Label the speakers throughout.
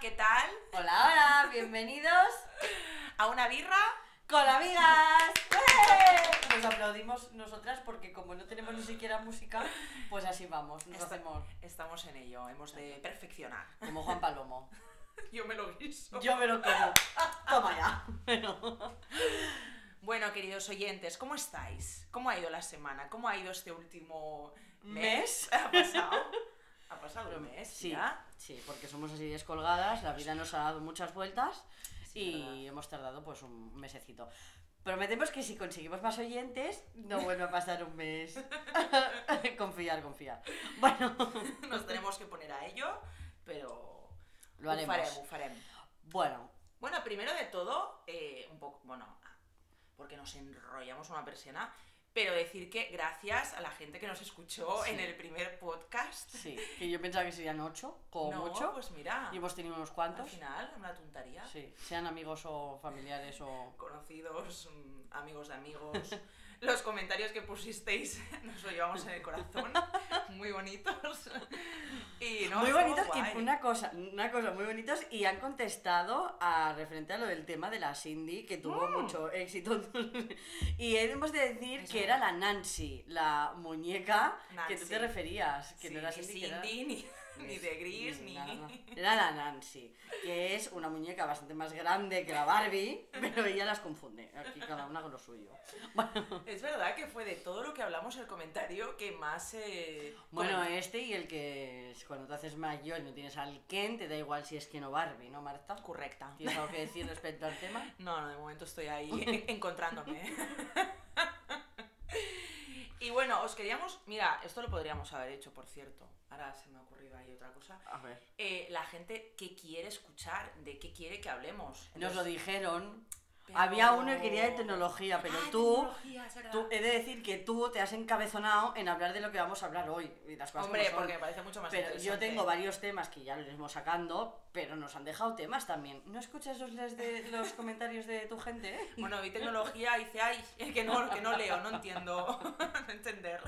Speaker 1: ¿qué tal?
Speaker 2: Hola, hola, bienvenidos
Speaker 1: A una birra.
Speaker 2: con amigas. ¡Eh! Nos aplaudimos nosotras porque como no tenemos ni siquiera música, pues así vamos, nos
Speaker 1: Esta-
Speaker 2: hacemos
Speaker 1: Estamos en ello, hemos de perfeccionar.
Speaker 2: como Juan Palomo.
Speaker 1: Yo me lo guiso.
Speaker 2: Yo me lo como. Toma ya.
Speaker 1: Bueno, queridos oyentes, ¿cómo estáis? ¿Cómo ha ido la semana? ¿Cómo ha ido este último mes?
Speaker 2: Mes.
Speaker 1: ¿Ha pasado? ¿Ha pasado un mes?
Speaker 2: Sí,
Speaker 1: ya?
Speaker 2: sí, porque somos así descolgadas, la vida nos ha dado muchas vueltas
Speaker 1: Sí,
Speaker 2: y
Speaker 1: verdad.
Speaker 2: hemos tardado pues un mesecito. Prometemos que si conseguimos más oyentes, no vuelve a pasar un mes. confiar, confiar. Bueno,
Speaker 1: Nos tenemos que poner a ello, pero...
Speaker 2: lo haremos.
Speaker 1: Bufarem, bufarem.
Speaker 2: Bueno,
Speaker 1: Bueno, primero de todo, eh, un poco, bueno, porque nos enrollamos una persona, pero decir que gracias a la gente que nos escuchó
Speaker 2: Sí.
Speaker 1: en el primer podcast.
Speaker 2: sí, que yo pensaba que serían ocho, como
Speaker 1: no,
Speaker 2: mucho,
Speaker 1: pues mira,
Speaker 2: y hemos tenido unos
Speaker 1: al
Speaker 2: cuantos.
Speaker 1: final, una tontería.
Speaker 2: Sí, sean amigos o familiares o...
Speaker 1: Conocidos, mm, amigos de amigos, los comentarios que pusisteis nos lo llevamos en el corazón, muy bonitos. Y no,
Speaker 2: muy
Speaker 1: estuvo
Speaker 2: bonitos
Speaker 1: guay.
Speaker 2: y una cosa, una cosa muy bonitos y han contestado a referente a lo del tema de la Cindy que tuvo mucho éxito y hemos de decir
Speaker 1: Mm. Eso
Speaker 2: que
Speaker 1: es.
Speaker 2: era la Nancy, la muñeca que tú
Speaker 1: Nancy.
Speaker 2: te referías, que
Speaker 1: Sí,
Speaker 2: no era
Speaker 1: ni
Speaker 2: Cindy, que era-
Speaker 1: Cindy, ni, ni de gris, ni...
Speaker 2: nada, no. Era la Nancy, que es una muñeca bastante más grande que la Barbie, pero ella las confunde. Aquí cada una con lo suyo.
Speaker 1: Es verdad que fue de todo lo que hablamos el comentario que más... eh,
Speaker 2: Bueno, este y el que es cuando te haces mayor y no tienes al Ken, te da igual si es Ken o Barbie, ¿no, Marta?
Speaker 1: Correcta.
Speaker 2: ¿Tienes algo que decir respecto al tema?
Speaker 1: No, no, de momento estoy ahí encontrándome. y bueno, os queríamos. Mira, esto lo podríamos haber hecho, por cierto. Ahora se me ha ocurrido ahí otra cosa.
Speaker 2: A ver.
Speaker 1: Eh, la gente que quiere escuchar, de qué quiere que hablemos.
Speaker 2: Nos lo
Speaker 1: Entonces,
Speaker 2: dijeron.
Speaker 1: pero-
Speaker 2: Había uno que quería de tecnología, pero
Speaker 1: Ah,
Speaker 2: tú,
Speaker 1: tecnología, es verdad.
Speaker 2: tú- eh, he de decir que tú te has encabezonado en hablar de lo que vamos a hablar hoy. y las cosas
Speaker 1: Hombre,
Speaker 2: como son.
Speaker 1: porque me parece mucho más
Speaker 2: Pero yo
Speaker 1: interesante.
Speaker 2: tengo varios temas que ya los iremos sacando, pero nos han dejado temas también. ¿No escuchas los, les de, los comentarios de tu gente? eh?
Speaker 1: Bueno, vi tecnología y dice, ay, que no, que no leo, no entiendo. no entender.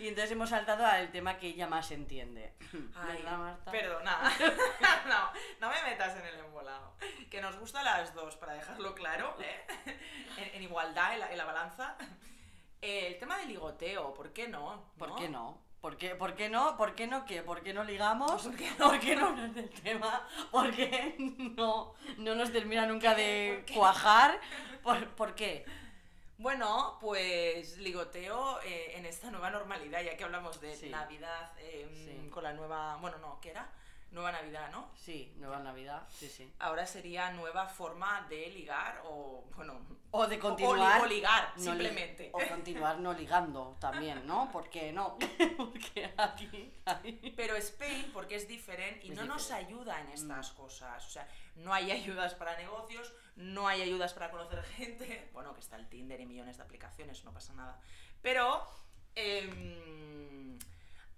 Speaker 2: Y entonces hemos saltado al tema que ella más entiende.
Speaker 1: Ay,
Speaker 2: ¿Verdad, Marta?
Speaker 1: Perdona. no, no me metas en el embolado. Que nos gusta las dos, para dejarlo claro, ¿eh? en, en igualdad, en la, en la balanza. Eh, el tema del ligoteo, ¿por qué no?
Speaker 2: ¿Por qué no? ¿Por qué, ¿Por qué no? ¿Por qué no qué? ¿Por qué no ligamos?
Speaker 1: ¿Por qué
Speaker 2: ¿Por qué no hablar del tema? ¿Por qué no, no nos termina nunca de
Speaker 1: ¿Por qué?
Speaker 2: cuajar? ¿Por, por qué?
Speaker 1: Bueno, pues ligoteo eh, en esta nueva normalidad, ya que hablamos de
Speaker 2: Sí.
Speaker 1: Navidad eh,
Speaker 2: Sí.
Speaker 1: con la nueva. Bueno, no, ¿qué era? Nueva Navidad, ¿no?
Speaker 2: Sí, nueva Navidad, sí, sí.
Speaker 1: Ahora sería nueva forma de ligar o, bueno, o-
Speaker 2: O de
Speaker 1: o li-
Speaker 2: continuar.
Speaker 1: o ligar,
Speaker 2: no li-
Speaker 1: simplemente.
Speaker 2: o continuar no ligando también, ¿no? ¿Por qué no? Porque aquí hay...
Speaker 1: Pero Spain, porque es diferente y
Speaker 2: Es Mm.
Speaker 1: no nos
Speaker 2: diferent.
Speaker 1: ayuda en estas cosas. O sea, no hay ayudas para negocios, no hay ayudas para conocer gente. Bueno, que está el Tinder y millones de aplicaciones, no pasa nada. Pero em,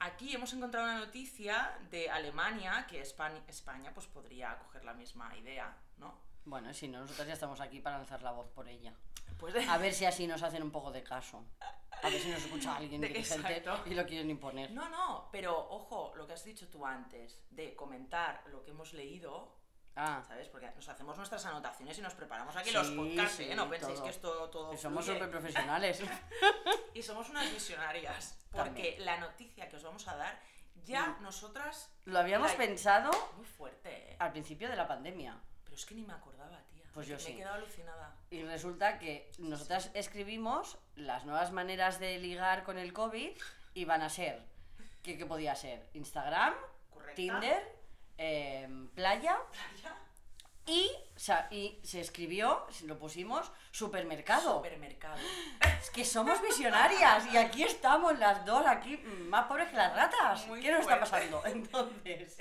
Speaker 1: aquí hemos encontrado una noticia de Alemania que España, España pues podría coger la misma idea, ¿no?
Speaker 2: Bueno, si no, nosotros ya estamos aquí para lanzar la voz por ella.
Speaker 1: Pues
Speaker 2: A ver si así nos hacen un poco de caso. A ver si nos escucha alguien
Speaker 1: De-
Speaker 2: inteligente
Speaker 1: exacto.
Speaker 2: y lo quieren imponer.
Speaker 1: No, no, pero ojo, lo que has dicho tú antes de comentar lo que hemos leído,
Speaker 2: Ah,
Speaker 1: ¿Sabes? Porque nos hacemos nuestras anotaciones y nos preparamos aquí
Speaker 2: Sí,
Speaker 1: los podcasts,
Speaker 2: sí,
Speaker 1: ¿eh? No penséis
Speaker 2: todo.
Speaker 1: que esto todo.
Speaker 2: que somos
Speaker 1: fluye.
Speaker 2: súper profesionales.
Speaker 1: Y somos unas visionarias. Porque
Speaker 2: También.
Speaker 1: la noticia que os vamos a dar, ya nosotras.
Speaker 2: Lo habíamos
Speaker 1: Like.
Speaker 2: pensado
Speaker 1: Muy fuerte, ¿eh?
Speaker 2: al principio de la pandemia.
Speaker 1: Pero es que ni me acordaba, tía.
Speaker 2: Ah. Pues
Speaker 1: me,
Speaker 2: yo
Speaker 1: me
Speaker 2: sí.
Speaker 1: he quedado alucinada.
Speaker 2: Y resulta que nosotras escribimos las nuevas maneras de ligar con el COVID y van a ser, ¿qué, qué podía ser? Instagram,
Speaker 1: ¿Correcta?
Speaker 2: Tinder, em, playa
Speaker 1: Playa,
Speaker 2: y, sa- y se escribió, lo pusimos, supermercado.
Speaker 1: Supermercado.
Speaker 2: Es que somos visionarias y aquí estamos las dos, aquí mm, más pobres que las ratas.
Speaker 1: Muy
Speaker 2: ¿Qué nos está
Speaker 1: fuerte.
Speaker 2: pasando? Entonces...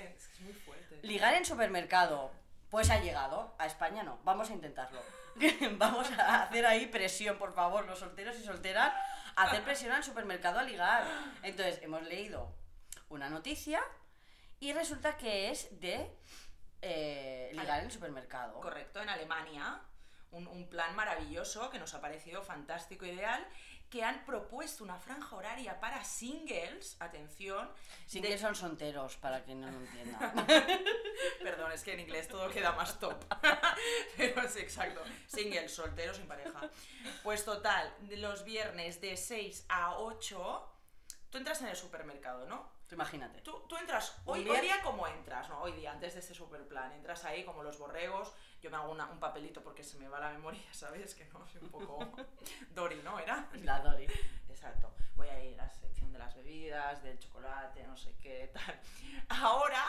Speaker 1: Es, es muy fuerte.
Speaker 2: Ligar en supermercado. Pues ha llegado. A España no. Vamos a intentarlo. Vamos a hacer ahí presión, por favor, los solteros y solteras. Hacer presión al supermercado a ligar. Entonces, hemos leído una noticia y resulta que es de eh, ligar en el supermercado.
Speaker 1: Correcto, en Alemania. Un, un plan maravilloso que nos ha parecido fantástico, ideal, que han propuesto una franja horaria para singles, atención,
Speaker 2: Sin
Speaker 1: de-
Speaker 2: que son solteros, para quien no lo entienda.
Speaker 1: Perdón, es que en inglés todo queda más top. Pero es exacto. Single, soltero, sin pareja. Pues total, de los viernes de 6 a 8, tú entras en el supermercado, ¿no?
Speaker 2: Tú imagínate.
Speaker 1: Tú, tú entras,
Speaker 2: Un
Speaker 1: hoy,
Speaker 2: día-
Speaker 1: hoy día como entras, ¿no? Hoy día, antes de este superplan, entras ahí como los borregos, yo me hago una- un papelito porque se me va la memoria, ¿sabes? Que no, soy un poco... Dory, ¿no? Era...
Speaker 2: La Dori.
Speaker 1: Exacto. Voy a ir a la sección de las bebidas, del chocolate, no sé qué, tal. Ahora,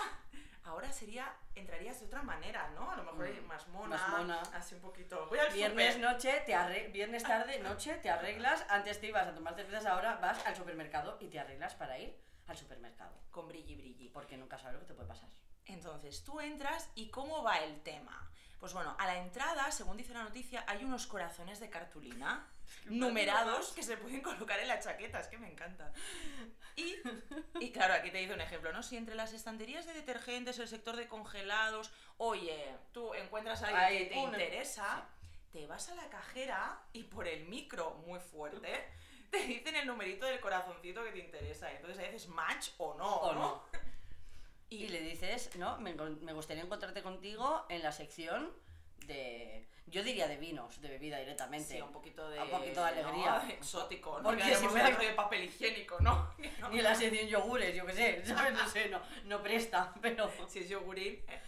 Speaker 1: ahora sería, entrarías de otra manera, ¿no? A lo mejor
Speaker 2: Mm,
Speaker 1: más mona,
Speaker 2: más mona.
Speaker 1: así un poquito. Voy al
Speaker 2: Viernes
Speaker 1: súper.
Speaker 2: noche, te arre- viernes tarde, noche, te arreglas. Antes te ibas a tomar cervezas, ahora vas al supermercado y te arreglas para ir al supermercado.
Speaker 1: con brilli brilli.
Speaker 2: Porque nunca sabes lo que te puede pasar.
Speaker 1: Entonces, tú entras y ¿cómo va el tema? Pues bueno, a la entrada, según dice la noticia, hay unos corazones de cartulina numerados que se pueden colocar en la chaqueta, es que me encanta. Y, y claro, aquí te hice un ejemplo, ¿no? Si entre las estanterías de detergentes, el sector de congelados, oye, tú encuentras a alguien
Speaker 2: Hay
Speaker 1: que te
Speaker 2: uno.
Speaker 1: interesa, te vas a la cajera y por el micro muy fuerte te dicen el numerito del corazoncito que te interesa. Y entonces ahí dices match o no,
Speaker 2: O
Speaker 1: ¿no?
Speaker 2: no.
Speaker 1: Y,
Speaker 2: Y le dices, no, me, encon- me gustaría encontrarte contigo en la sección de. Yo diría de vinos, de bebida directamente.
Speaker 1: Sí, un poquito de,
Speaker 2: Un poquito de alegría.
Speaker 1: ¿no? exótico, ¿no?
Speaker 2: Porque
Speaker 1: Porque
Speaker 2: si
Speaker 1: si
Speaker 2: fuera-
Speaker 1: de papel higiénico, ¿no? Que no.
Speaker 2: Ni en la sección yogures, yo qué sé, ¿sabes? No sé, no, no presta, pero.
Speaker 1: Si es yogurín, eh,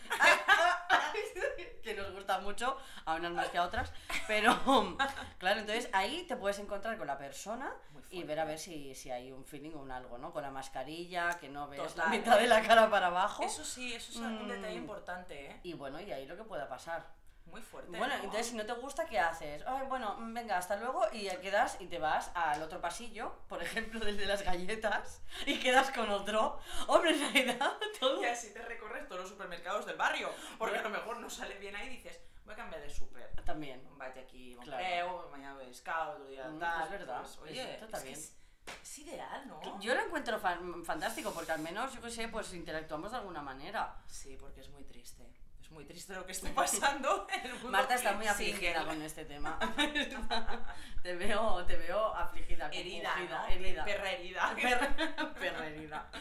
Speaker 2: que nos gustan mucho, a unas más que a otras, pero claro, entonces ahí te puedes encontrar con la persona
Speaker 1: Muy fuerte.
Speaker 2: y ver a ver si, si hay un feeling o un algo, ¿no? Con la mascarilla, que no ves la
Speaker 1: Total.
Speaker 2: mitad de la cara para abajo.
Speaker 1: Eso sí, eso es un detalle
Speaker 2: Mm.
Speaker 1: importante, ¿eh?
Speaker 2: Y bueno, y ahí lo que pueda pasar.
Speaker 1: Muy fuerte.
Speaker 2: Bueno,
Speaker 1: ¿no?
Speaker 2: entonces si no te gusta, ¿qué haces? Ay, bueno, mm, venga, hasta luego y ya quedas y te vas al otro pasillo, por ejemplo, desde las galletas, y quedas con otro. Hombre, en realidad, todo...
Speaker 1: Y así te recorres todos los supermercados del barrio. Porque a lo mejor no sale bien ahí y dices, voy a cambiar de súper.
Speaker 2: También.
Speaker 1: Vaya aquí,
Speaker 2: Claro.
Speaker 1: creo, mañana pescado, otro día
Speaker 2: Mm,
Speaker 1: tal.
Speaker 2: es verdad,
Speaker 1: pues, oye,
Speaker 2: es- esto está
Speaker 1: es que
Speaker 2: bien.
Speaker 1: Es, es ideal, ¿no?
Speaker 2: Yo lo encuentro fan- fantástico porque al menos, yo qué sé, pues interactuamos de alguna manera.
Speaker 1: Sí, porque es muy triste. Es muy triste lo que está pasando. en el mundo
Speaker 2: Marta está muy
Speaker 1: single.
Speaker 2: afligida con este tema. te veo, te veo afligida,
Speaker 1: Herida,
Speaker 2: compungida,
Speaker 1: ¿no?
Speaker 2: herida.
Speaker 1: Perra herida.
Speaker 2: Perra- perra herida.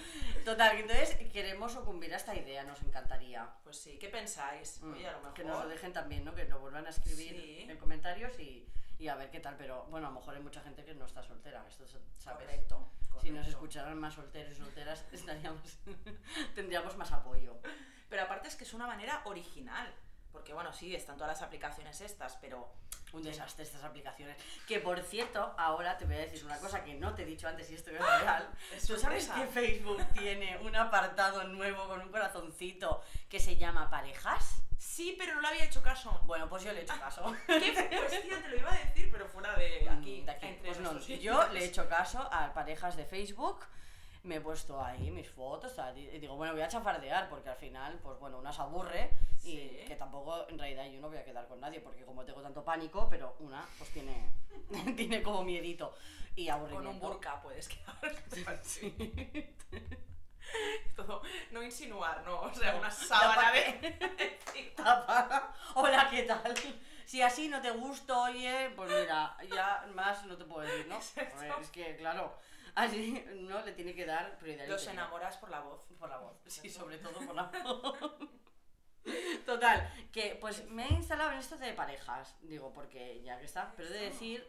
Speaker 2: Total, que entonces queremos sucumbir a esta idea, nos encantaría.
Speaker 1: Pues sí, ¿qué pensáis?
Speaker 2: Mm,
Speaker 1: Oye, a lo mejor.
Speaker 2: Que nos lo dejen también, ¿no? Que nos vuelvan a escribir
Speaker 1: Sí.
Speaker 2: en comentarios y, y a ver qué tal. Pero bueno, a lo mejor hay mucha gente que no está soltera, esto se- sabes.
Speaker 1: Correcto,
Speaker 2: Si nos
Speaker 1: correcto.
Speaker 2: escucharan más solteros y solteras, estaríamos, tendríamos más apoyo.
Speaker 1: Pero aparte es que es una manera original. Porque bueno, sí, están todas las aplicaciones estas, pero
Speaker 2: Un desastre estas aplicaciones. Que por cierto, ahora te voy a decir una cosa que no te he dicho antes y esto es real.
Speaker 1: Es
Speaker 2: ¿Tú sabes
Speaker 1: sorpresa.
Speaker 2: que Facebook tiene un apartado nuevo con un corazoncito que se llama parejas?
Speaker 1: Sí, pero no le había hecho caso.
Speaker 2: Bueno, pues yo le he hecho caso.
Speaker 1: ¿Qué cuestión? Te lo iba a decir, pero fuera de aquí.
Speaker 2: Mm, de aquí.
Speaker 1: entre
Speaker 2: Pues no,
Speaker 1: nuestros
Speaker 2: yo
Speaker 1: hijos.
Speaker 2: le he hecho caso a parejas de Facebook. Me he puesto ahí mis fotos tal, y digo, bueno, voy a chafardear porque al final, pues bueno, una se aburre
Speaker 1: Sí.
Speaker 2: y que tampoco en realidad yo no voy a quedar con nadie porque como tengo tanto pánico, pero una pues tiene, tiene como miedito y
Speaker 1: Con un
Speaker 2: aburrimiento.
Speaker 1: burka puedes quedar. así. Todo, no insinuar, no. O sea, una sábana de.
Speaker 2: Tapa. Hola, ¿qué tal? Si así no te gusto, oye, pues mira, ya más no te puedo decir, ¿no?
Speaker 1: Exacto.
Speaker 2: A ver, es que, claro, así no le tiene que dar prioridad. al
Speaker 1: Los
Speaker 2: interior.
Speaker 1: enamoras por la voz.
Speaker 2: Por la voz. Sí, sobre todo por la voz. Total, que pues me he instalado en esto de parejas, digo, porque ya que está, pero he de decir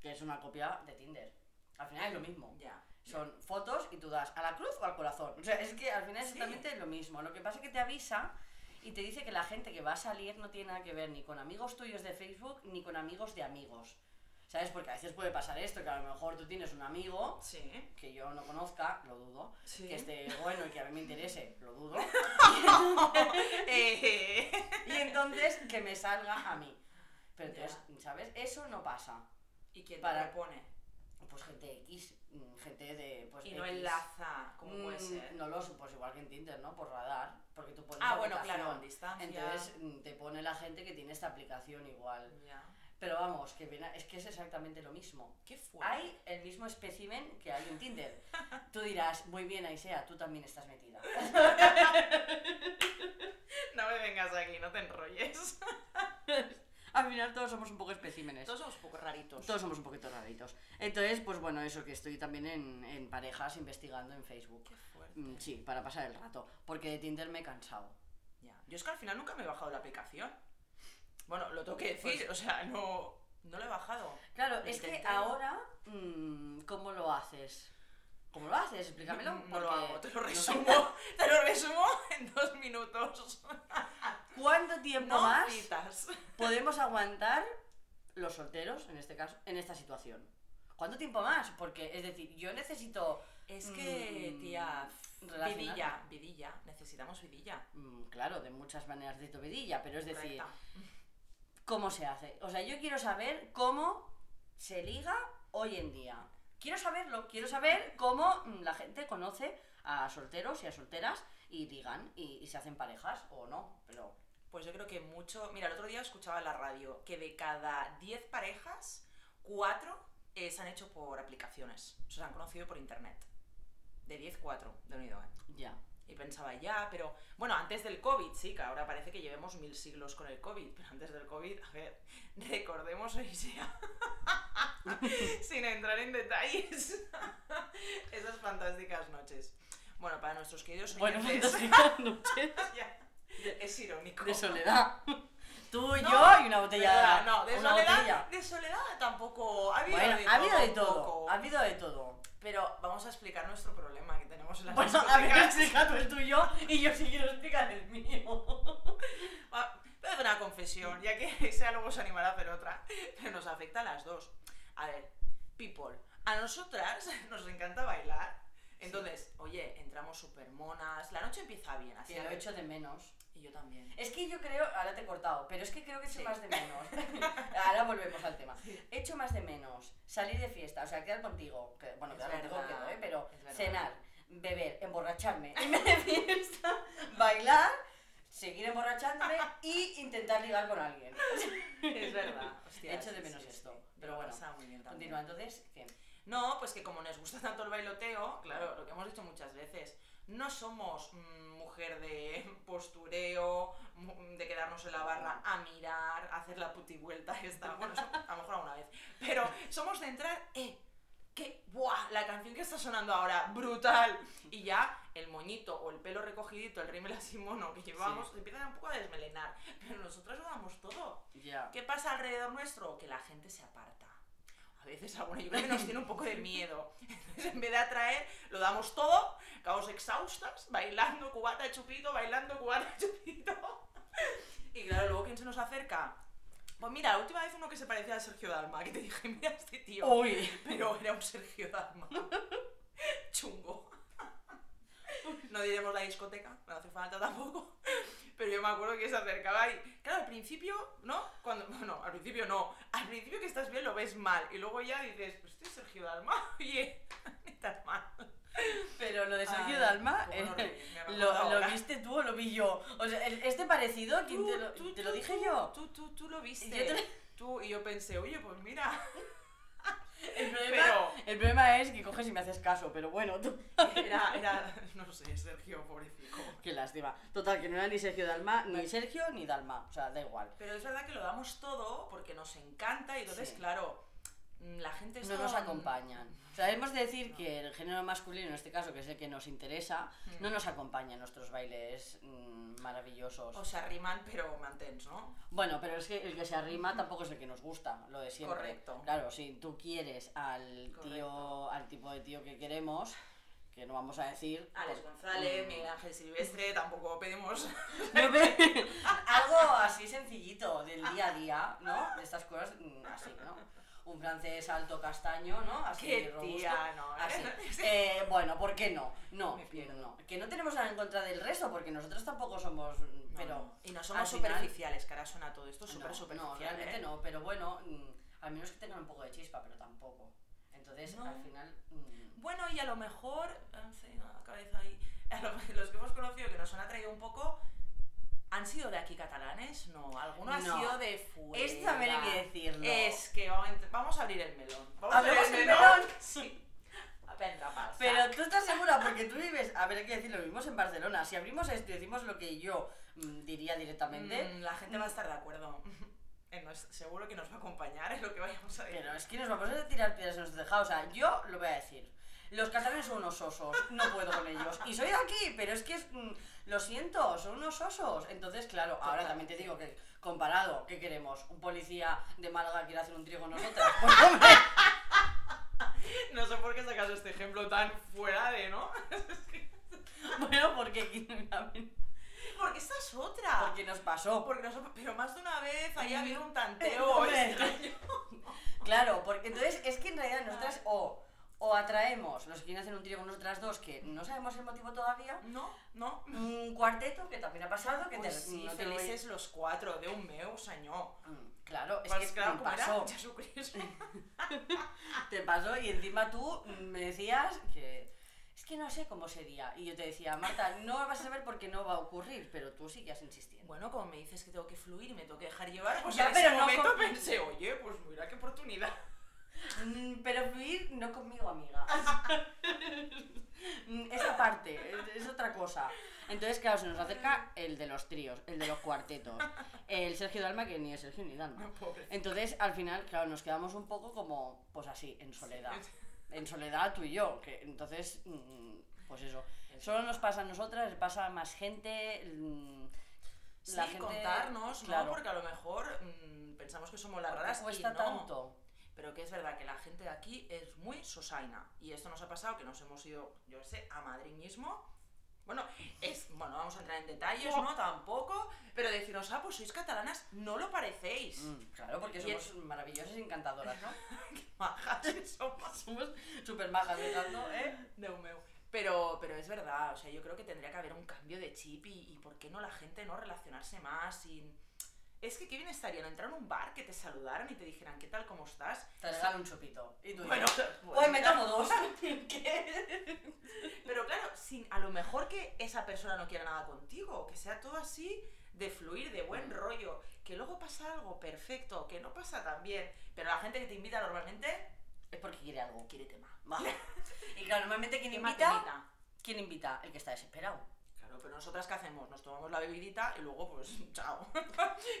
Speaker 2: que es una copia de Tinder. Al final es lo mismo.
Speaker 1: Ya.
Speaker 2: Son fotos y tú das a la cruz o al corazón. O sea, es que al final es
Speaker 1: Sí.
Speaker 2: exactamente lo mismo. Lo que pasa es que te avisa y te dice que la gente que va a salir no tiene nada que ver ni con amigos tuyos de Facebook ni con amigos de amigos. ¿Sabes? Porque a veces puede pasar esto, que a lo mejor tú tienes un amigo
Speaker 1: Sí.
Speaker 2: que yo no conozca, lo dudo,
Speaker 1: Sí.
Speaker 2: que esté bueno y que a mí me interese, lo dudo,
Speaker 1: Eh,
Speaker 2: y entonces que me salga a mí. Pero entonces, ¿sabes? Eso no pasa.
Speaker 1: ¿Y quién
Speaker 2: Para-
Speaker 1: te propone?
Speaker 2: Pues gente X, mm, gente de... Pues,
Speaker 1: Y no
Speaker 2: X.
Speaker 1: enlaza, como puede
Speaker 2: Mm,
Speaker 1: ser.
Speaker 2: No lo sé, pues igual que en Tinder, ¿no? Por radar, porque tú pones
Speaker 1: Ah,
Speaker 2: la
Speaker 1: bueno,
Speaker 2: aplicación.
Speaker 1: claro, Ah, distancia.
Speaker 2: Entonces mm, te pone la gente que tiene esta aplicación igual.
Speaker 1: Ya.
Speaker 2: Pero vamos, que viene a- es que es exactamente lo mismo.
Speaker 1: ¿Qué fue?
Speaker 2: Hay el mismo espécimen que hay en Tinder. Tú dirás, muy bien, Aisea, tú también estás metida.
Speaker 1: No me vengas aquí, no te enrolles.
Speaker 2: A al final todos somos un poco especímenes.
Speaker 1: Todos somos un poco raritos.
Speaker 2: Todos somos un poquito raritos. Entonces, pues bueno, eso que estoy también en, en parejas investigando en Facebook.
Speaker 1: Qué fuerte.
Speaker 2: Mm, Sí, para pasar el rato. Porque de Tinder me he cansado.
Speaker 1: Ya. Yo es que al final nunca me he bajado la aplicación. Bueno, lo tengo que
Speaker 2: Pues-
Speaker 1: decir, o sea, no, no lo he bajado.
Speaker 2: Claro,
Speaker 1: Lo
Speaker 2: es que
Speaker 1: intenté.
Speaker 2: ahora, mm, ¿cómo lo haces? ¿Cómo lo haces? Explícamelo.
Speaker 1: No, no lo
Speaker 2: porque
Speaker 1: hago, te lo
Speaker 2: Mm, no sé.
Speaker 1: resumo, te lo resumo en dos minutos.
Speaker 2: ¿Cuánto tiempo
Speaker 1: No
Speaker 2: más
Speaker 1: citas.
Speaker 2: podemos aguantar los solteros, en este caso, en esta situación? ¿Cuánto tiempo más? Porque, es decir, yo necesito...
Speaker 1: Es que,
Speaker 2: mm,
Speaker 1: tía,
Speaker 2: relacionarme.
Speaker 1: vidilla, vidilla, necesitamos vidilla.
Speaker 2: Mm, claro, de muchas maneras de vidilla, pero es decir,
Speaker 1: Correcta.
Speaker 2: ¿cómo se hace? O sea, yo quiero saber cómo se liga hoy en día. Quiero saberlo, quiero saber cómo mm, la gente conoce a solteros y a solteras y ligan y, y se hacen parejas o no, pero...
Speaker 1: Pues yo creo que mucho. Mira, el otro día escuchaba en la radio que de cada 10 parejas, 4 se han hecho por aplicaciones. O sea, se han conocido por internet. De 10, 4 de unido, ¿eh?
Speaker 2: Ya.
Speaker 1: Y pensaba ya, pero bueno, antes del COVID, sí, que ahora parece que llevemos mil siglos con el COVID, pero antes del COVID, a ver, recordemos hoy sea, sin entrar en detalles, esas fantásticas noches. Bueno, para nuestros queridos
Speaker 2: Bueno,
Speaker 1: oyentes,
Speaker 2: fantásticas noches
Speaker 1: ya, es irónico.
Speaker 2: de soledad. Tú,
Speaker 1: No,
Speaker 2: yo y una
Speaker 1: de
Speaker 2: botella.
Speaker 1: soledad, no, de
Speaker 2: una
Speaker 1: soledad,
Speaker 2: botella.
Speaker 1: de soledad tampoco, ha habido
Speaker 2: Bueno,
Speaker 1: de
Speaker 2: ha habido
Speaker 1: todo
Speaker 2: de
Speaker 1: un
Speaker 2: todo,
Speaker 1: poco.
Speaker 2: ha habido de todo.
Speaker 1: Pero vamos a explicar nuestro problema que tenemos en las
Speaker 2: Bueno, a ver,
Speaker 1: discotecas.
Speaker 2: explica tú el tuyo y yo sí quiero explicar el mío.
Speaker 1: Va, Voy a hacer una confesión, ya que sea luego se animará a hacer otra, pero nos afecta a las dos. A ver, people, a nosotras nos encanta bailar, entonces, oye, entramos súper monas, la noche empieza bien, así
Speaker 2: Que
Speaker 1: a
Speaker 2: lo
Speaker 1: ver,
Speaker 2: echo de menos.
Speaker 1: Y yo también.
Speaker 2: Es que yo creo, ahora te he cortado, pero es que creo que echo
Speaker 1: Sí.
Speaker 2: más de menos. ahora volvemos al tema. Echo más de menos salir de fiesta, o sea, quedar contigo, que- bueno,
Speaker 1: Es
Speaker 2: quedar contigo
Speaker 1: verdad,
Speaker 2: quedo, ¿eh? pero
Speaker 1: es verdad.
Speaker 2: cenar, beber, emborracharme, irme de fiesta, bailar, seguir emborrachándome y intentar ligar con alguien.
Speaker 1: Es verdad, hostia.
Speaker 2: Echo de
Speaker 1: sí,
Speaker 2: menos
Speaker 1: sí, sí,
Speaker 2: esto,
Speaker 1: sí.
Speaker 2: pero bueno,
Speaker 1: Está muy bien también.
Speaker 2: Continúa entonces, ¿qué?
Speaker 1: No, pues que como nos gusta tanto el bailoteo, claro, lo que hemos dicho muchas veces, no somos mm, mujer de postureo, mu- de quedarnos en la barra a mirar, a hacer la puti vuelta esta, bueno, eso a lo mejor alguna vez, pero somos de entrar, eh, que, buah, la canción que está sonando ahora, brutal, y ya el moñito o el pelo recogidito, el rímel así mono que llevamos,
Speaker 2: Sí.
Speaker 1: se empiezan un poco a desmelenar, pero nosotros lo damos todo.
Speaker 2: Ya.
Speaker 1: ¿Qué pasa alrededor nuestro? Que la gente se aparta. A veces alguna yo creo que nos tiene un poco de miedo. Entonces, en vez de atraer, lo damos todo, acabamos exhaustas, bailando cubata chupito, bailando cubata chupito. Y claro, luego ¿quién se nos acerca? Pues mira, la última vez uno que se parecía a Sergio Dalma, que te dije, mira este tío.
Speaker 2: Uy,
Speaker 1: Pero era un Sergio Dalma. Chungo. No diremos la discoteca, no hace falta tampoco. Pero yo me acuerdo que se acercaba y. Claro, al principio, ¿no? Cuando. Bueno, al principio no. Al principio que estás bien lo ves mal. Y luego ya dices, pues este es Sergio Dalma. Oye, ni tan mal.
Speaker 2: pero lo de Sergio
Speaker 1: Ay,
Speaker 2: Dalma,
Speaker 1: cómo nos
Speaker 2: eh,
Speaker 1: reímos, me acuerdo
Speaker 2: lo, lo
Speaker 1: ahora.
Speaker 2: viste tú o lo vi yo? O sea, el- este parecido, ¿quién
Speaker 1: Tú,
Speaker 2: te lo,
Speaker 1: tú,
Speaker 2: te lo
Speaker 1: tú,
Speaker 2: dije
Speaker 1: tú,
Speaker 2: yo?
Speaker 1: Tú, tú, tú lo viste.
Speaker 2: Yo te lo-
Speaker 1: Tú, y yo pensé, oye, pues mira.
Speaker 2: El problema,
Speaker 1: Pero.
Speaker 2: el problema es que coges y me haces caso, pero bueno, tú.
Speaker 1: Era, era. No sé, Sergio, pobrecito.
Speaker 2: Qué lástima. Total, que no era ni Sergio Dalma, ni Sergio ni Dalma. O sea, da igual.
Speaker 1: Pero es verdad que lo damos todo porque nos encanta y entonces,
Speaker 2: Sí.
Speaker 1: claro, mm, la gente
Speaker 2: No
Speaker 1: está...
Speaker 2: nos acompañan. O sea, hemos de decir
Speaker 1: No.
Speaker 2: que el género masculino, en este caso, que es el que nos interesa,
Speaker 1: Mm.
Speaker 2: no nos acompaña en nuestros bailes mm, maravillosos.
Speaker 1: O se arriman pero mantens, ¿no?
Speaker 2: Bueno, pero es que el que se arrima tampoco es el que nos gusta, lo de siempre.
Speaker 1: Correcto.
Speaker 2: Claro, si tú quieres al tío,
Speaker 1: Correcto.
Speaker 2: al tipo de tío que queremos, que no vamos a decir.
Speaker 1: Alex
Speaker 2: por-
Speaker 1: González,
Speaker 2: Mm.
Speaker 1: Miguel Ángel Silvestre, tampoco pedimos...
Speaker 2: No, pero- Algo así sencillito, del día a día, ¿no? De estas cosas mm, así, ¿no? Un francés alto castaño, ¿no? Ah, Así
Speaker 1: ¡Qué
Speaker 2: robusto.
Speaker 1: tía! No, ¿eh?
Speaker 2: Así. Eh, bueno, ¿por qué no? No,
Speaker 1: Me pierdo.
Speaker 2: no. Que no tenemos nada en contra del resto, porque nosotros tampoco somos. mm,
Speaker 1: No,
Speaker 2: Pero.
Speaker 1: no. Y no
Speaker 2: al
Speaker 1: somos
Speaker 2: final-
Speaker 1: superficiales, que ahora suena todo esto súper
Speaker 2: no,
Speaker 1: superficial,
Speaker 2: No, realmente
Speaker 1: ¿eh?
Speaker 2: no, pero bueno, mm, al menos que tengan un poco de chispa, pero tampoco. Entonces,
Speaker 1: No.
Speaker 2: al final. mm,
Speaker 1: Bueno, y a lo mejor... en fin, a la cabeza ahí. A lo- los que hemos conocido que nos han atraído un poco... ¿Han sido de aquí catalanes? No, alguno ha
Speaker 2: No.
Speaker 1: sido de fuera.
Speaker 2: Esto también hay que decirlo.
Speaker 1: Es que vamos a, ent- vamos a abrir el melón. Vamos
Speaker 2: ¿Hablamos
Speaker 1: a abrir
Speaker 2: el melón?
Speaker 1: Sí. Venga, pasa.
Speaker 2: Pero tú estás segura, porque tú vives. A ver, hay que decirlo, vivimos en Barcelona. Si abrimos esto y decimos lo que yo mm, diría directamente.
Speaker 1: Mm, la gente va a estar de acuerdo. eh, nos- seguro que nos va a acompañar en lo que vayamos a decir.
Speaker 2: Pero es que nos vamos a tirar piedras en los tejados. O sea, yo lo voy a decir. Los catalanes son unos osos, no puedo con ellos. Y soy de aquí, pero es que es, mm, lo siento, son unos osos. Entonces, claro, ahora también te digo que comparado, ¿qué queremos? ¿Un policía de Málaga quiere hacer un trigo con nosotras? Pues hombre,
Speaker 1: No sé por qué sacas este ejemplo tan fuera de, ¿no?
Speaker 2: bueno, porque,
Speaker 1: Porque esta es otra.
Speaker 2: porque nos pasó.
Speaker 1: Porque nosotros, pero más de una vez ahí ha habido un
Speaker 2: Eh,
Speaker 1: tanteo
Speaker 2: hombre.
Speaker 1: extraño.
Speaker 2: Claro, porque entonces es que en realidad nosotras o, o atraemos los que quieren hacer un trío con nosotras dos, que no sabemos el motivo todavía,
Speaker 1: No, no.
Speaker 2: un cuarteto, que también ha pasado, que
Speaker 1: Ui,
Speaker 2: te-
Speaker 1: Pues sí,
Speaker 2: no te lo-
Speaker 1: felices los cuatro, de un meu, senyor.
Speaker 2: Mm, Claro, es
Speaker 1: Pues
Speaker 2: que
Speaker 1: claro,
Speaker 2: te
Speaker 1: como era
Speaker 2: pasó,
Speaker 1: Jesucristo.
Speaker 2: te pasó y encima tú me decías que es que no sé cómo sería. Y yo te decía, Marta, no vas a saber porque no va a ocurrir, pero tú sigues insistiendo.
Speaker 1: Bueno, como me dices que tengo que fluir y me tengo que dejar llevar, pues
Speaker 2: Ya,
Speaker 1: en
Speaker 2: pero
Speaker 1: ese
Speaker 2: no
Speaker 1: momento
Speaker 2: con-
Speaker 1: pensé, oye, pues mira qué oportunidad.
Speaker 2: Mm, Pero fluir no conmigo, amiga. Mm, Esa parte, es- es otra cosa. Entonces, claro, se nos acerca el de los tríos, el de los cuartetos, el Sergio Dalma, que ni es Sergio ni Dalma.
Speaker 1: Pobre.
Speaker 2: Entonces, al final, claro, nos quedamos un poco como, pues así, en soledad. En soledad tú y yo, que entonces, mm, pues eso. Solo nos pasa a nosotras, le pasa a más gente. mm,
Speaker 1: Sí, contarnos,
Speaker 2: claro,
Speaker 1: ¿no? Porque a lo mejor mm, pensamos que somos las
Speaker 2: porque
Speaker 1: raras y
Speaker 2: cuesta
Speaker 1: no.
Speaker 2: tanto.
Speaker 1: Pero que es verdad que la gente de aquí es muy sosaina. Y esto nos ha pasado que nos hemos ido, yo qué sé, a Madrid mismo. Bueno, es, bueno, vamos a entrar en detalles, ¿no? Tampoco. Pero deciros, ah, pues sois catalanas, no lo parecéis.
Speaker 2: Mm, claro, porque
Speaker 1: Y
Speaker 2: somos maravillosas y encantadoras, ¿no?
Speaker 1: Majas, somos
Speaker 2: somos súper majas de tanto, ¿eh?
Speaker 1: de un meu. Pero, pero es verdad, o sea, yo creo que tendría que haber un cambio de chip y, y por qué no la gente no relacionarse más y... Es que qué bien estaría no entrar a un bar que te saludaran y te dijeran, ¿qué tal? ¿Cómo estás?
Speaker 2: Te regalo un chupito. Y tú y
Speaker 1: Bueno,
Speaker 2: yo,
Speaker 1: pues
Speaker 2: "Hoy me
Speaker 1: mira".
Speaker 2: tomo dos.
Speaker 1: Pero claro, sin, a lo mejor que esa persona no quiera nada contigo, que sea todo así de fluir, de buen
Speaker 2: Mm.
Speaker 1: rollo, que luego pasa algo perfecto, que no pasa tan bien, pero la gente que te invita normalmente
Speaker 2: es porque quiere algo.
Speaker 1: quiere tema.
Speaker 2: Vale. Y claro, normalmente quien
Speaker 1: Tema,
Speaker 2: invita,
Speaker 1: temita.
Speaker 2: ¿quién invita? El que está desesperado.
Speaker 1: Claro, pero nosotras ¿qué hacemos? Nos tomamos la bebidita y luego pues chao.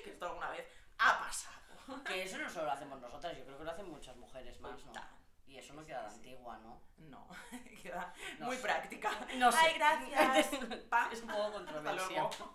Speaker 1: que esto alguna vez ha pasado.
Speaker 2: Que eso no solo lo hacemos nosotras, yo creo que lo hacen muchas mujeres más, ¿no? Y eso no queda de antigua, ¿no?
Speaker 1: No, queda
Speaker 2: No
Speaker 1: muy
Speaker 2: sé.
Speaker 1: práctica.
Speaker 2: No sé.
Speaker 1: Ay, gracias. Pa.
Speaker 2: es un poco
Speaker 1: Hasta
Speaker 2: controversia.
Speaker 1: luego.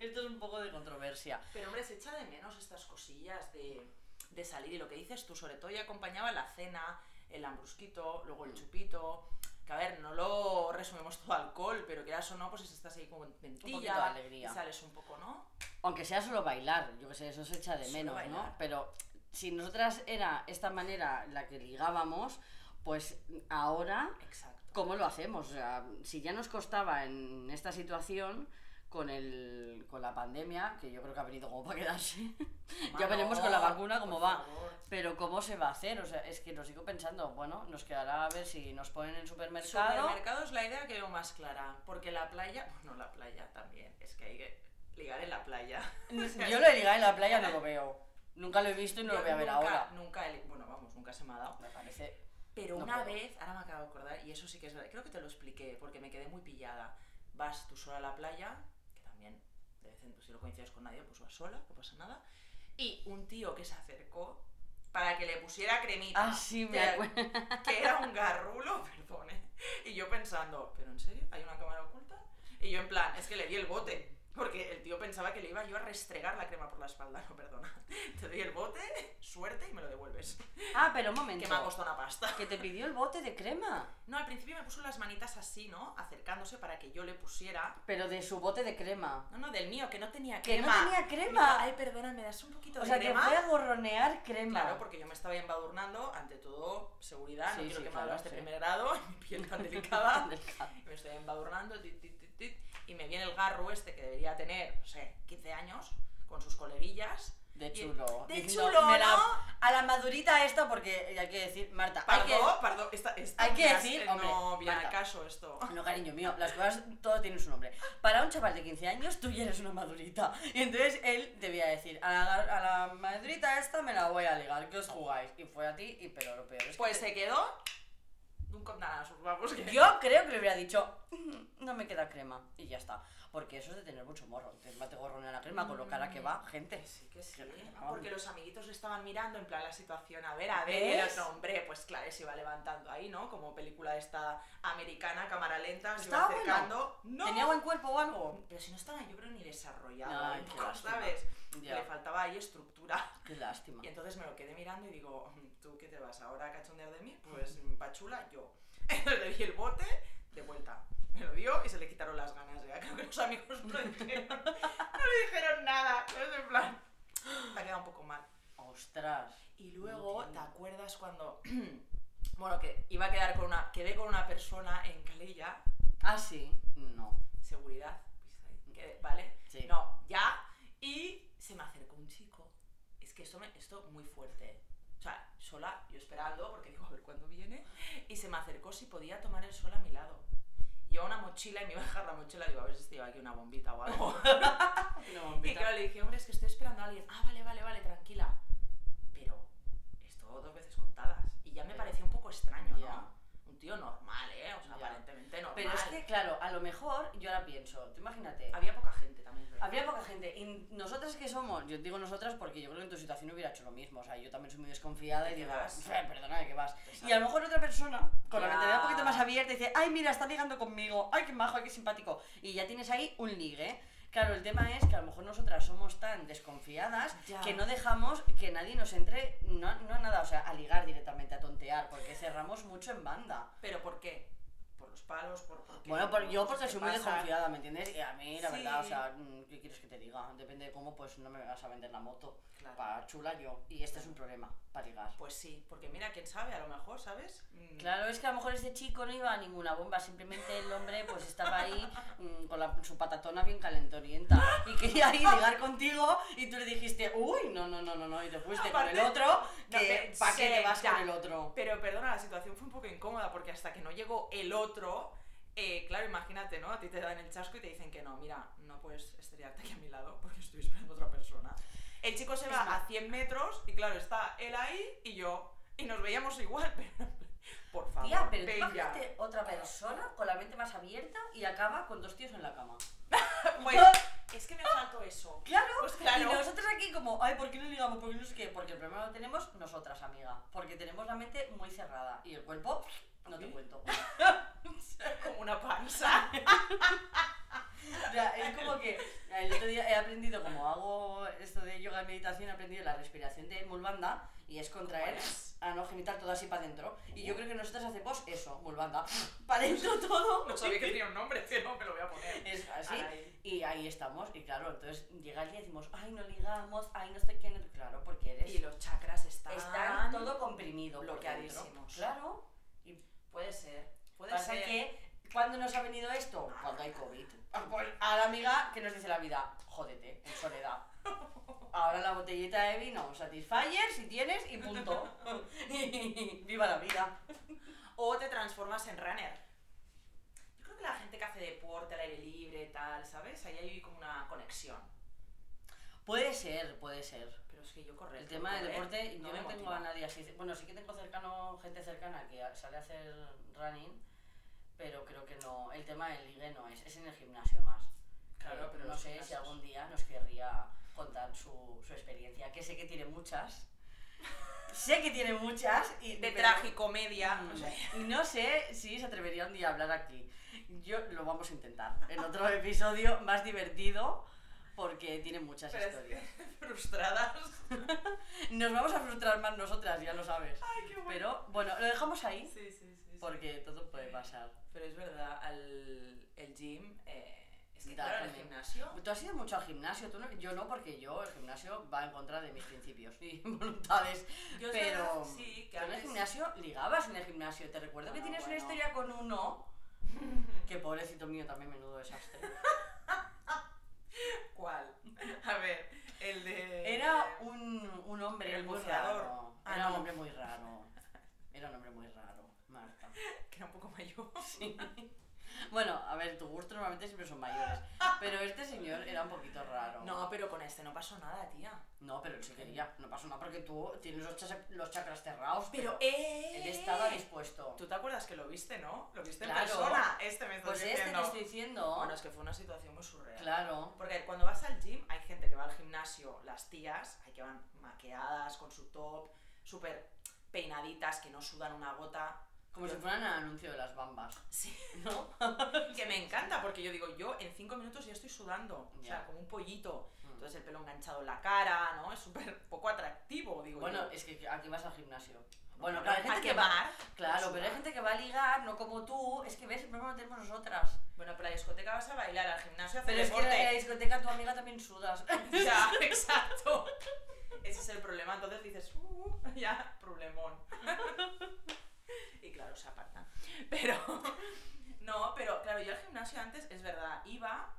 Speaker 2: Esto es un poco de controversia.
Speaker 1: Pero hombre, se echa de menos estas cosillas de, de salir y lo que dices tú, sobre todo ya acompañaba la cena, el hambrusquito, luego el chupito. Que a ver, no lo resumimos todo a alcohol, pero quieras o no, pues estás ahí como
Speaker 2: Un
Speaker 1: mentilla.
Speaker 2: poquito de alegría.
Speaker 1: Y sales un poco, ¿no?
Speaker 2: Aunque sea solo bailar, yo que sé, eso se echa de
Speaker 1: Solo
Speaker 2: menos, ¿no?
Speaker 1: bailar.
Speaker 2: Pero si nosotras era esta manera la que ligábamos, pues ahora,
Speaker 1: Exacto.
Speaker 2: ¿cómo lo hacemos? O sea, si ya nos costaba en esta situación con el con la pandemia, que yo creo que ha venido como para quedarse. ya veremos con la vacuna cómo
Speaker 1: por
Speaker 2: va.
Speaker 1: favor.
Speaker 2: Pero ¿cómo se va a hacer? O sea, es que lo sigo pensando, bueno, nos quedará a ver si nos ponen en supermercado.
Speaker 1: Supermercado es la idea que veo más clara, porque la playa, bueno, la playa también, es que hay que ligar en la playa.
Speaker 2: Yo lo he ligado en la playa, no lo veo. Nunca lo he visto y no lo
Speaker 1: Yo
Speaker 2: voy a ver
Speaker 1: nunca-
Speaker 2: ahora.
Speaker 1: Nunca, he li- bueno, vamos, nunca se me ha dado.
Speaker 2: Me parece.
Speaker 1: Pero
Speaker 2: No
Speaker 1: una
Speaker 2: puedo.
Speaker 1: vez, ahora me acabo de acordar, y eso sí que es verdad, creo que te lo expliqué, porque me quedé muy pillada. Vas tú sola a la playa, que también, de vez en si no coincides con nadie, pues vas sola, no pasa nada. Y un tío que se acercó para que le pusiera cremita.
Speaker 2: Ah, sí, me
Speaker 1: que-
Speaker 2: acuerdo.
Speaker 1: que era un garrulo, perdone. Y yo pensando, ¿pero en serio? ¿Hay una cámara oculta? Y yo en plan, es que le di el bote. Porque el tío pensaba que le iba yo a restregar la crema por la espalda. No, perdona. Te doy el bote, suerte y me lo devuelves.
Speaker 2: Ah, pero un
Speaker 1: Que me ha
Speaker 2: momento.
Speaker 1: costado una pasta.
Speaker 2: Que te pidió el bote de crema.
Speaker 1: No, al principio me puso las manitas así, ¿no? Acercándose para que yo le pusiera...
Speaker 2: Pero de su bote de crema.
Speaker 1: No, no, del mío, que no tenía
Speaker 2: Que no
Speaker 1: crema.
Speaker 2: tenía crema.
Speaker 1: Ay, perdona, ¿me das un poquito
Speaker 2: O
Speaker 1: de
Speaker 2: sea, que
Speaker 1: crema?
Speaker 2: fue a gorronear crema.
Speaker 1: Claro, porque yo me estaba embadurnando, ante todo, seguridad,
Speaker 2: Sí,
Speaker 1: no quiero
Speaker 2: sí,
Speaker 1: que me
Speaker 2: claro,
Speaker 1: hagas de
Speaker 2: sí.
Speaker 1: primer grado, mi piel tan delicada.
Speaker 2: Delicado.
Speaker 1: y me estoy embadurnando, tit, tit, tit, tit, y me viene el garro este que debería tener, no sé, 15 años, con sus coleguillas.
Speaker 2: De
Speaker 1: Y-
Speaker 2: chulo.
Speaker 1: de
Speaker 2: Diciendo,
Speaker 1: chulo,
Speaker 2: "Me la-
Speaker 1: ¿no?"
Speaker 2: A la madurita esta, porque hay que decir, Marta, hay
Speaker 1: Pardó,
Speaker 2: que,
Speaker 1: pardó, esta, esta-
Speaker 2: hay que
Speaker 1: mira,
Speaker 2: decir,
Speaker 1: eh,
Speaker 2: hombre,
Speaker 1: no viene al
Speaker 2: Marta.
Speaker 1: caso esto.
Speaker 2: No, cariño mío, las cosas todo tienen su nombre. Para un chaval de 15 años, tú ya eres una madurita. Y entonces él debía decir, a la, a la madurita esta me la voy a ligar, que os jugáis. Y fue a ti, y pero lo peor es que-
Speaker 1: Pues se Pues quedó Un condanazo, vamos. Que...
Speaker 2: Yo creo que le hubiera dicho, "Mm, no me queda crema. Y ya está. Porque eso es de tener mucho morro. Te mate gorrón en la crema con lo cara que va, gente.
Speaker 1: Que sí, que sí.
Speaker 2: Que no, que no,
Speaker 1: Porque
Speaker 2: vamos.
Speaker 1: los amiguitos le estaban mirando en plan la situación, a ver, a ver, y el
Speaker 2: ¿Ves?
Speaker 1: otro hombre, pues claro, se iba levantando ahí, ¿no? Como película esta americana, cámara lenta, se iba
Speaker 2: Estaba bueno.
Speaker 1: acercando. ¡No!
Speaker 2: ¿Tenía buen cuerpo o algo?
Speaker 1: Pero si no estaba, yo creo, ni desarrollado,
Speaker 2: Ay, qué lástima.
Speaker 1: ¿sabes?
Speaker 2: Ya.
Speaker 1: Le faltaba ahí estructura.
Speaker 2: Qué lástima.
Speaker 1: Y entonces me lo quedé mirando y digo, "Mm, ¿tú qué te vas ahora a cachondear de mí? Pues mm, pachula, yo. Entonces le di el bote, de vuelta. Me lo dio y se le quitaron las ganas. ya Creo que los amigos no le dijeron, no le dijeron nada. Es en plan, te ha quedado un poco mal.
Speaker 2: Ostras.
Speaker 1: Y luego, ¿te
Speaker 2: entiendo.
Speaker 1: acuerdas cuando... Bueno, que iba a quedar con una... Quedé con una persona en Calella,
Speaker 2: Ah, sí. No.
Speaker 1: seguridad, pues que- ¿vale?
Speaker 2: Sí.
Speaker 1: No, ya. Y se me acercó un chico. Es que esto, me, esto muy fuerte. ¿eh? O sea, sola, yo esperando, porque digo, a ver cuándo viene. Y se me acercó si podía tomar el sol a mi lado. Llevaba una mochila y me iba a dejar la mochila. Digo, a ver si lleva aquí una bombita o algo. y claro, le dije, hombre, es que estoy esperando a alguien. Ah, vale, vale, vale, tranquila. Pero esto dos veces contadas. Y ya me
Speaker 2: Ya.
Speaker 1: pareció un poco extraño,
Speaker 2: Ya.
Speaker 1: ¿no? Un tío normal, ¿eh? O sea,
Speaker 2: Ya.
Speaker 1: aparentemente normal.
Speaker 2: Pero es que, claro, a lo mejor, yo ahora pienso, tú imagínate,
Speaker 1: Había poca gente también. es verdad.
Speaker 2: habría poca gente, y nosotras que somos, yo digo nosotras porque yo creo que en tu situación hubiera hecho lo mismo, o sea, yo también soy muy desconfiada
Speaker 1: ¿De
Speaker 2: y
Speaker 1: qué
Speaker 2: digo,
Speaker 1: vas?
Speaker 2: "Eh, perdona, ¿de qué vas?
Speaker 1: Exacto.
Speaker 2: Y a lo mejor otra persona, con
Speaker 1: Ya.
Speaker 2: la mentalidad un poquito más abierta, dice, ay, mira, está ligando conmigo, ay, qué majo, ay, qué simpático, y ya tienes ahí un ligue. Claro, el tema es que a lo mejor nosotras somos tan desconfiadas
Speaker 1: Ya.
Speaker 2: que no dejamos que nadie nos entre, no, no a nada, o sea, a ligar directamente, a tontear, porque cerramos mucho en banda.
Speaker 1: ¿Pero por qué? ¿Por los palos? ¿Por, por qué?
Speaker 2: Bueno, por- yo
Speaker 1: ¿Por
Speaker 2: porque
Speaker 1: qué
Speaker 2: soy muy
Speaker 1: pasa?
Speaker 2: desconfiada, ¿me entiendes? Y a mí, la
Speaker 1: Sí.
Speaker 2: verdad, o sea, mm, ¿qué quieres que te diga? Depende de cómo, pues no me vas a vender la moto.
Speaker 1: Claro.
Speaker 2: Para chula yo. Y este es un problema, para ligar.
Speaker 1: Pues sí, porque mira, quién sabe, a lo mejor, ¿sabes? Mm,
Speaker 2: Claro, es que a lo mejor este chico no iba a ninguna bomba, simplemente el hombre pues estaba ahí mm, con la- su patatona bien calentorienta y quería ahí ligar contigo y tú le dijiste, uy, no, no, no, no, no, y te fuiste con
Speaker 1: Aparte-
Speaker 2: el otro,
Speaker 1: No,
Speaker 2: que
Speaker 1: pero
Speaker 2: ¿para qué
Speaker 1: sé,
Speaker 2: te vas
Speaker 1: ya.
Speaker 2: con el otro?
Speaker 1: Pero perdona, la situación fue un poco incómoda porque hasta que no llegó el otro, eh, claro, imagínate, ¿no? A ti te dan el chasco y te dicen que no, mira, no puedes estrellarte aquí a mi lado porque estoy esperando a otra persona. El chico se
Speaker 2: Es
Speaker 1: va
Speaker 2: más-
Speaker 1: a 100 metros y claro, está él ahí y yo. Y nos veíamos igual, pero... Por favor,
Speaker 2: Tía, pero tú
Speaker 1: venga.
Speaker 2: imagínate otra persona con la mente más abierta y acaba con dos tíos en la cama.
Speaker 1: Pues, es que me faltó eso.
Speaker 2: Claro,
Speaker 1: Pues claro.
Speaker 2: y nosotros aquí como, ay, ¿por qué no ligamos? ¿Por qué no sé qué? Porque el problema lo tenemos nosotras, amiga. Porque tenemos la mente muy cerrada y el cuerpo, no te
Speaker 1: ¿Sí?
Speaker 2: cuento.
Speaker 1: Como una panza.
Speaker 2: O sea, es como que el otro día he aprendido, como hago esto de yoga y meditación, he aprendido la respiración de Mulbanda y es contraer
Speaker 1: ¿Cómo es?
Speaker 2: a no genital todo así para adentro. Y yo creo que nosotras hacemos eso, Mulbanda, para adentro todo.
Speaker 1: No sabía que tenía un nombre, pero me lo voy a poner.
Speaker 2: Es así.
Speaker 1: Ahí.
Speaker 2: Y ahí estamos, y claro, entonces llega el día y decimos, ay, no ligamos, ay, no sé qué, no- claro, porque eres...
Speaker 1: Y los chakras están...
Speaker 2: Están todo comprimido, por
Speaker 1: bloqueadísimos.
Speaker 2: dentro. Claro.
Speaker 1: Puede ser. Puede
Speaker 2: Pasa
Speaker 1: ser.
Speaker 2: que, ¿cuándo nos ha venido esto? Cuando hay COVID. Ah, pues, A la amiga que nos dice la vida, jódete, en soledad. Ahora la botellita de vino, satisfyer si tienes y punto. Viva la vida.
Speaker 1: O te transformas en runner. Yo creo que la gente que hace deporte al aire libre, tal, ¿sabes? Ahí hay como una conexión.
Speaker 2: Puede ser, puede ser.
Speaker 1: Pero es que yo correr.
Speaker 2: El tema del
Speaker 1: correr
Speaker 2: deporte, yo
Speaker 1: me
Speaker 2: no tengo
Speaker 1: motiva.
Speaker 2: a nadie así. Bueno, sí que tengo cercano gente cercana que sale a hacer running, pero creo que no. El tema del ligue no es, es en el gimnasio más.
Speaker 1: Claro,
Speaker 2: Eh,
Speaker 1: pero
Speaker 2: no
Speaker 1: los
Speaker 2: sé si
Speaker 1: gimnasios.
Speaker 2: algún día nos querría contar su, su experiencia, que sé que tiene muchas. sé que tiene muchas y
Speaker 1: De
Speaker 2: pero-
Speaker 1: tragicomedia. o sea,
Speaker 2: y Mm, no sé si se atrevería un día a hablar aquí. Yo lo vamos a intentar en otro episodio más divertido porque tiene muchas
Speaker 1: pero es que-
Speaker 2: historias.
Speaker 1: frustradas.
Speaker 2: Nos vamos a frustrar más nosotras, ya lo sabes.
Speaker 1: Ay, qué bueno.
Speaker 2: Pero bueno, lo dejamos ahí
Speaker 1: Sí, sí, sí. sí.
Speaker 2: porque todo puede pasar.
Speaker 1: Pero es verdad, al el gym. eh, es que
Speaker 2: Da
Speaker 1: claro, en el
Speaker 2: también.
Speaker 1: gimnasio.
Speaker 2: Tú has ido mucho al gimnasio, tú no- yo no, porque yo el gimnasio va en contra de mis principios y voluntades.
Speaker 1: Yo es
Speaker 2: pero
Speaker 1: verdad, sí, que
Speaker 2: tú en el
Speaker 1: antes-
Speaker 2: gimnasio ligabas en el gimnasio. Te recuerdo que
Speaker 1: Bueno,
Speaker 2: tienes
Speaker 1: bueno.
Speaker 2: una historia con uno. Que pobrecito mío también, menudo desastre.
Speaker 1: ¿Cuál? A ver, el de.
Speaker 2: Era un, un hombre
Speaker 1: El
Speaker 2: muy
Speaker 1: buceador.
Speaker 2: raro.
Speaker 1: Ah,
Speaker 2: Era
Speaker 1: no.
Speaker 2: un hombre muy raro. Era un hombre muy raro, Marta.
Speaker 1: Que era un poco mayor.
Speaker 2: Sí. Bueno, a ver, tu gusto normalmente siempre son mayores. Pero este señor era un poquito raro.
Speaker 1: No, pero con este no pasó nada, tía.
Speaker 2: No, pero él sí quería. No pasó nada porque tú tienes los, chas- los chakras cerrados.
Speaker 1: Pero, eh.
Speaker 2: él estaba dispuesto.
Speaker 1: Tú te acuerdas que lo viste, ¿no? Lo viste en
Speaker 2: Claro.
Speaker 1: persona. Este me estás
Speaker 2: Pues este te
Speaker 1: diciendo.
Speaker 2: estoy diciendo.
Speaker 1: Bueno, es que fue una situación muy surreal.
Speaker 2: Claro.
Speaker 1: Porque cuando vas al gym, hay gente que va al gimnasio, las tías, hay que van maqueadas, con su top, súper peinaditas, que no sudan una gota.
Speaker 2: Como
Speaker 1: Yo-
Speaker 2: si fueran al anuncio de las bambas.
Speaker 1: Sí,
Speaker 2: ¿No?
Speaker 1: que me encanta, porque yo digo, yo en cinco minutos ya estoy sudando. O sea,
Speaker 2: Ya.
Speaker 1: como un pollito.
Speaker 2: Mm.
Speaker 1: Entonces el pelo enganchado en la cara, ¿no? Es súper poco atractivo, digo
Speaker 2: Bueno,
Speaker 1: yo.
Speaker 2: es que aquí vas al gimnasio. Bueno, claro, hay
Speaker 1: ¿a
Speaker 2: gente
Speaker 1: qué
Speaker 2: que va.
Speaker 1: bar?
Speaker 2: Claro, pero hay gente que va a ligar, no como tú. Es que ves, el problema lo tenemos nosotras.
Speaker 1: Bueno, pero a la discoteca vas a bailar, al gimnasio a hacer
Speaker 2: Pero es que en
Speaker 1: deporte.
Speaker 2: la discoteca tu amiga también sudas.
Speaker 1: Ya, exacto. Ese es el problema. Entonces dices, "Uh, ya, problemón. Y claro, se aparta. Pero, no, pero claro, yo al gimnasio antes, es verdad, iba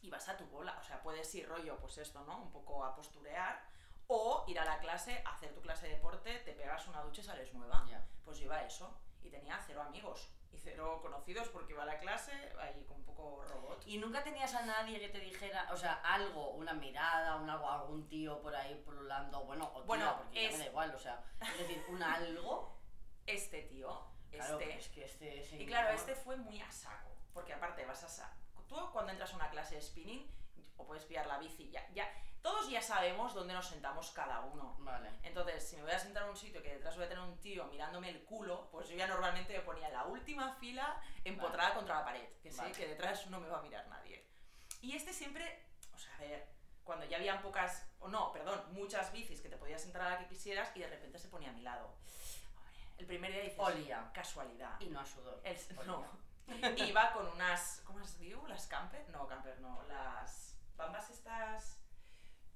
Speaker 1: y vas a tu bola. O sea, puedes ir rollo, pues esto, ¿no? Un poco a posturear. O ir a la clase, hacer tu clase de deporte, te pegas una ducha y sales nueva.
Speaker 2: Ya.
Speaker 1: Pues yo iba a eso. Y tenía cero amigos y cero conocidos porque iba a la clase ahí con un poco robot.
Speaker 2: Y nunca tenías a nadie que te dijera, o sea, algo, una mirada, un algo, algún tío por ahí pululando, bueno, o tía,
Speaker 1: Bueno,
Speaker 2: porque ya
Speaker 1: es-
Speaker 2: me da igual, o sea, es decir, un algo.
Speaker 1: Este tío,
Speaker 2: Claro,
Speaker 1: este,
Speaker 2: pero es que este
Speaker 1: Y
Speaker 2: señor-
Speaker 1: claro, este fue muy a saco, porque aparte vas a saco. Tú cuando entras a una clase de spinning, o puedes pillar la bici, ya, ya, todos ya sabemos dónde nos sentamos cada uno.
Speaker 2: Vale.
Speaker 1: Entonces, si me voy a sentar a un sitio que detrás voy a tener un tío mirándome el culo, pues yo ya normalmente me ponía en la última fila empotrada contra la pared, que
Speaker 2: Vale.
Speaker 1: sé que detrás no me va a mirar nadie. Y este siempre, o sea, a ver, cuando ya habían pocas, o no, perdón, muchas bicis que te podías entrar a la que quisieras y de repente se ponía a mi lado. Hombre, El primer día dices,
Speaker 2: Olía. Eh,
Speaker 1: casualidad.
Speaker 2: Y no a sudor.
Speaker 1: El-
Speaker 2: Olía.
Speaker 1: no. Iba con unas. ¿Cómo las digo? ¿Las camper? No, camper no. Las bambas estas.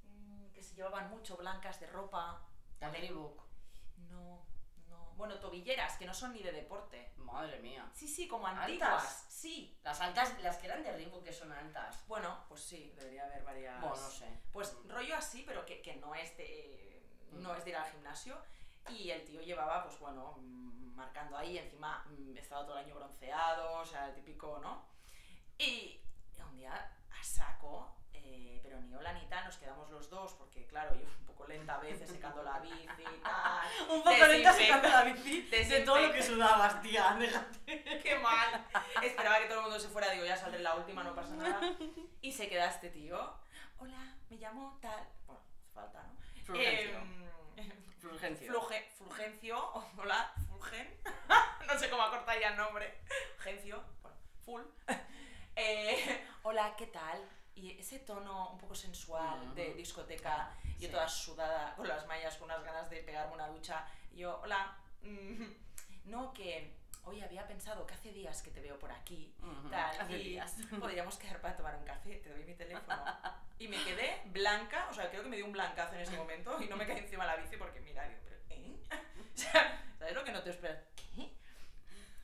Speaker 1: mm, que se llevaban mucho, blancas de ropa.
Speaker 2: La Greybook.
Speaker 1: No, no. Bueno, tobilleras, que no son ni de deporte.
Speaker 2: Madre mía.
Speaker 1: Sí, sí, como antiguas.
Speaker 2: ¿Altas?
Speaker 1: Sí.
Speaker 2: Las altas, las que eran de Reebok, que son altas.
Speaker 1: Bueno, pues sí, debería haber varias.
Speaker 2: Bueno, no sé.
Speaker 1: Pues
Speaker 2: Mm.
Speaker 1: rollo así, pero que, que no es de.
Speaker 2: Mm.
Speaker 1: No es de ir al gimnasio. Y el tío llevaba, pues bueno, mm, marcando ahí, encima mm, estaba todo el año bronceado, o sea, el típico, ¿no? Y un día a saco, eh, pero ni hola ni tal, nos quedamos los dos, porque claro, yo un poco lenta a veces secando la bici y tal.
Speaker 2: Un poco
Speaker 1: Desinfecta.
Speaker 2: lenta sacando la bici de todo lo que sudabas, tía. déjate.
Speaker 1: ¡Qué mal! Esperaba que todo el mundo se fuera, digo, ya saldré la última, no pasa nada. Y se queda este tío. Hola, me llamo tal. Bueno, hace falta, ¿no?
Speaker 2: Fulgencio.
Speaker 1: Em,
Speaker 2: Fulgencio.
Speaker 1: Fluge- Fulgencio, o- hola, Fulgen, no sé cómo acortar ya el nombre, Gencio, bueno, Full. Eh, hola, ¿qué tal? Y ese tono un poco sensual de
Speaker 2: Ujú.
Speaker 1: discoteca, yo
Speaker 2: Sí.
Speaker 1: toda sudada, con las mallas, con unas ganas de pegarme una ducha, y yo, hola, mm, no, que hoy había pensado que hace días que te veo por aquí,
Speaker 2: Ujú,
Speaker 1: tal,
Speaker 2: hace
Speaker 1: y
Speaker 2: días.
Speaker 1: podríamos quedar para tomar un café, te doy mi teléfono. Y me quedé blanca, o sea, creo que me dio un blancazo en ese momento y no me caí encima la bici porque mira, digo, pero ¿eh? O sea, ¿sabes lo que no te esperas? ¿Qué?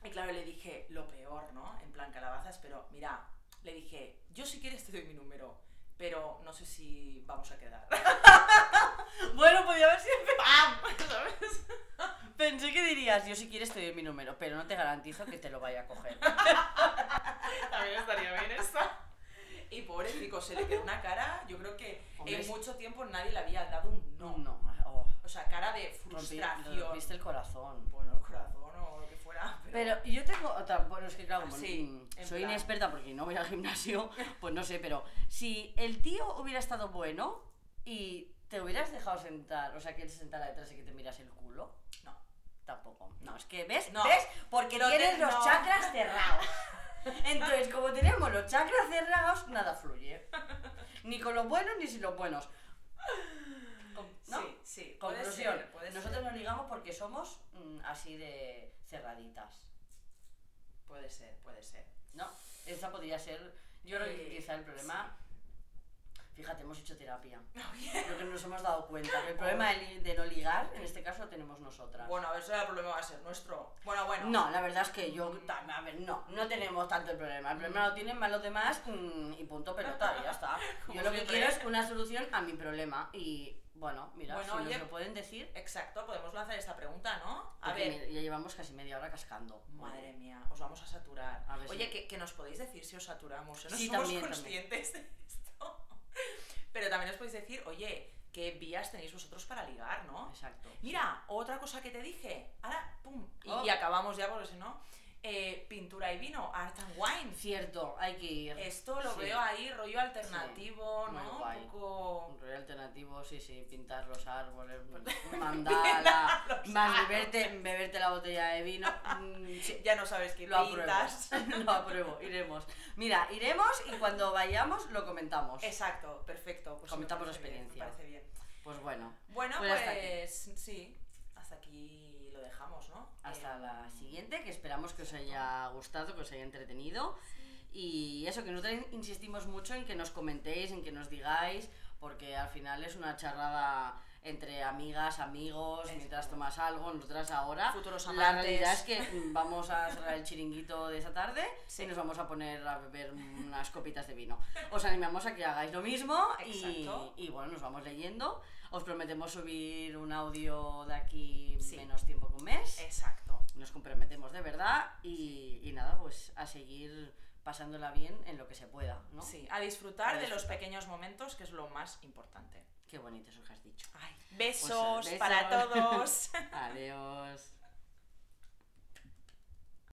Speaker 1: Y claro, le dije lo peor, ¿no? En plan calabazas, pero mira, le dije, yo si quieres te doy mi número, pero no sé si vamos a quedar.
Speaker 2: Bueno, podía haber sido.
Speaker 1: ¡Pam! ¿Sabes?
Speaker 2: Pensé que dirías, yo si quieres te doy mi número, pero no te garantizo que te lo vaya a coger.
Speaker 1: También estaría bien esta. Y pobre chico, se le quedó una cara, yo creo que
Speaker 2: Hombre,
Speaker 1: en
Speaker 2: es-
Speaker 1: mucho tiempo nadie le había dado un no.
Speaker 2: No, no. Oh,
Speaker 1: O sea, cara de
Speaker 2: rompí-
Speaker 1: frustración.
Speaker 2: rompiste el corazón.
Speaker 1: bueno, el corazón o lo que fuera, pero...
Speaker 2: Pero yo tengo otra. Bueno, es que claro, como
Speaker 1: Sí,
Speaker 2: mm,
Speaker 1: en
Speaker 2: soy
Speaker 1: plan.
Speaker 2: inexperta porque no voy al gimnasio, pues no sé, pero si el tío hubiera estado bueno y te hubieras dejado sentar, o sea, que él se sentara detrás y que te miras el culo,
Speaker 1: No.
Speaker 2: tampoco. No, es que ves,
Speaker 1: No.
Speaker 2: ¿ves? Porque
Speaker 1: Lo
Speaker 2: tienes
Speaker 1: te-
Speaker 2: los
Speaker 1: no.
Speaker 2: chakras cerrados. Entonces, como tenemos los chakras cerrados, nada fluye. Ni con los buenos ni sin los buenos. Com- ¿No?
Speaker 1: Sí, sí. puede
Speaker 2: Conclusión,
Speaker 1: ser, puede ser.
Speaker 2: nosotros nos ligamos porque somos mm, así de cerraditas.
Speaker 1: Puede ser, puede ser.
Speaker 2: No, esa podría ser, yo creo que
Speaker 1: Eh,
Speaker 2: quizá el problema Fíjate, hemos hecho terapia. Creo que no nos hemos dado cuenta. El problema de, li- de no ligar, en este caso, lo tenemos nosotras.
Speaker 1: Bueno, a ver si el problema va a ser nuestro. Bueno, bueno.
Speaker 2: No, la verdad es que yo, ta- a ver, no, no tenemos tanto el problema.
Speaker 1: Mm.
Speaker 2: El problema lo tienen más los demás mm, y punto pelota, y ya está.
Speaker 1: Como
Speaker 2: Yo lo que
Speaker 1: siempre.
Speaker 2: quiero es una solución a mi problema y, bueno, mira,
Speaker 1: Bueno,
Speaker 2: si
Speaker 1: oye,
Speaker 2: nos lo pueden decir,
Speaker 1: Exacto, podemos lanzar esta pregunta, ¿no? A
Speaker 2: porque
Speaker 1: ver,
Speaker 2: mira, ya llevamos casi media hora cascando.
Speaker 1: Madre mía, os vamos a saturar.
Speaker 2: A ver
Speaker 1: Oye,
Speaker 2: si-
Speaker 1: que, que nos podéis decir si os saturamos, ¿eh? no
Speaker 2: Sí,
Speaker 1: somos
Speaker 2: también,
Speaker 1: conscientes de esto. Pero también os podéis decir, oye, ¿qué vías tenéis vosotros para ligar, no?
Speaker 2: Exacto.
Speaker 1: Mira, otra cosa que te dije, ahora, pum, y,
Speaker 2: Oh.
Speaker 1: y acabamos ya porque si no, eh, pintura y vino, art and wine.
Speaker 2: Cierto, hay que ir.
Speaker 1: Esto lo
Speaker 2: Sí.
Speaker 1: veo ahí, rollo alternativo,
Speaker 2: muy
Speaker 1: ¿no?
Speaker 2: guay.
Speaker 1: Un poco...
Speaker 2: Un rollo alternativo, sí, sí, pintar los árboles, mandala, más beberte, beberte la botella de vino. mm, sí,
Speaker 1: Ya no sabes qué
Speaker 2: Lo apruebo.
Speaker 1: pintas.
Speaker 2: lo apruebo, iremos. Mira, iremos y cuando vayamos lo comentamos.
Speaker 1: Exacto, perfecto. Pues sí, me
Speaker 2: Comentamos
Speaker 1: parece bien,
Speaker 2: experiencia.
Speaker 1: Me parece bien.
Speaker 2: Pues bueno,
Speaker 1: Bueno,
Speaker 2: Pues
Speaker 1: pues,
Speaker 2: hasta aquí.
Speaker 1: sí, hasta aquí lo dejamos, ¿no?
Speaker 2: hasta
Speaker 1: Eh,
Speaker 2: la siguiente, que esperamos que os haya gustado, que os haya entretenido. Y eso, que nosotros insistimos mucho en que nos comentéis, en que nos digáis, porque al final es una charrada entre amigas, amigos,
Speaker 1: Es
Speaker 2: mientras
Speaker 1: verdad.
Speaker 2: tomas algo, nosotras ahora.
Speaker 1: Futuros
Speaker 2: la
Speaker 1: amantes.
Speaker 2: realidad es que mm, vamos a cerrar el chiringuito de esa tarde
Speaker 1: Sí.
Speaker 2: y nos vamos a poner a beber unas copitas de vino. Os animamos a que hagáis lo mismo y,
Speaker 1: Exacto.
Speaker 2: y, bueno, nos vamos leyendo. Os prometemos subir un audio de aquí
Speaker 1: Sí. Eh.
Speaker 2: menos tiempo que un mes
Speaker 1: Exacto.
Speaker 2: nos comprometemos de verdad y, y nada, pues a seguir pasándola bien en lo que se pueda, ¿no?
Speaker 1: Sí, a disfrutar
Speaker 2: A
Speaker 1: de los pequeños momentos, que es lo más importante.
Speaker 2: Qué bonito eso que has dicho.
Speaker 1: Ay, besos para
Speaker 2: Pues, eh, besos.
Speaker 1: todos.
Speaker 2: Adiós.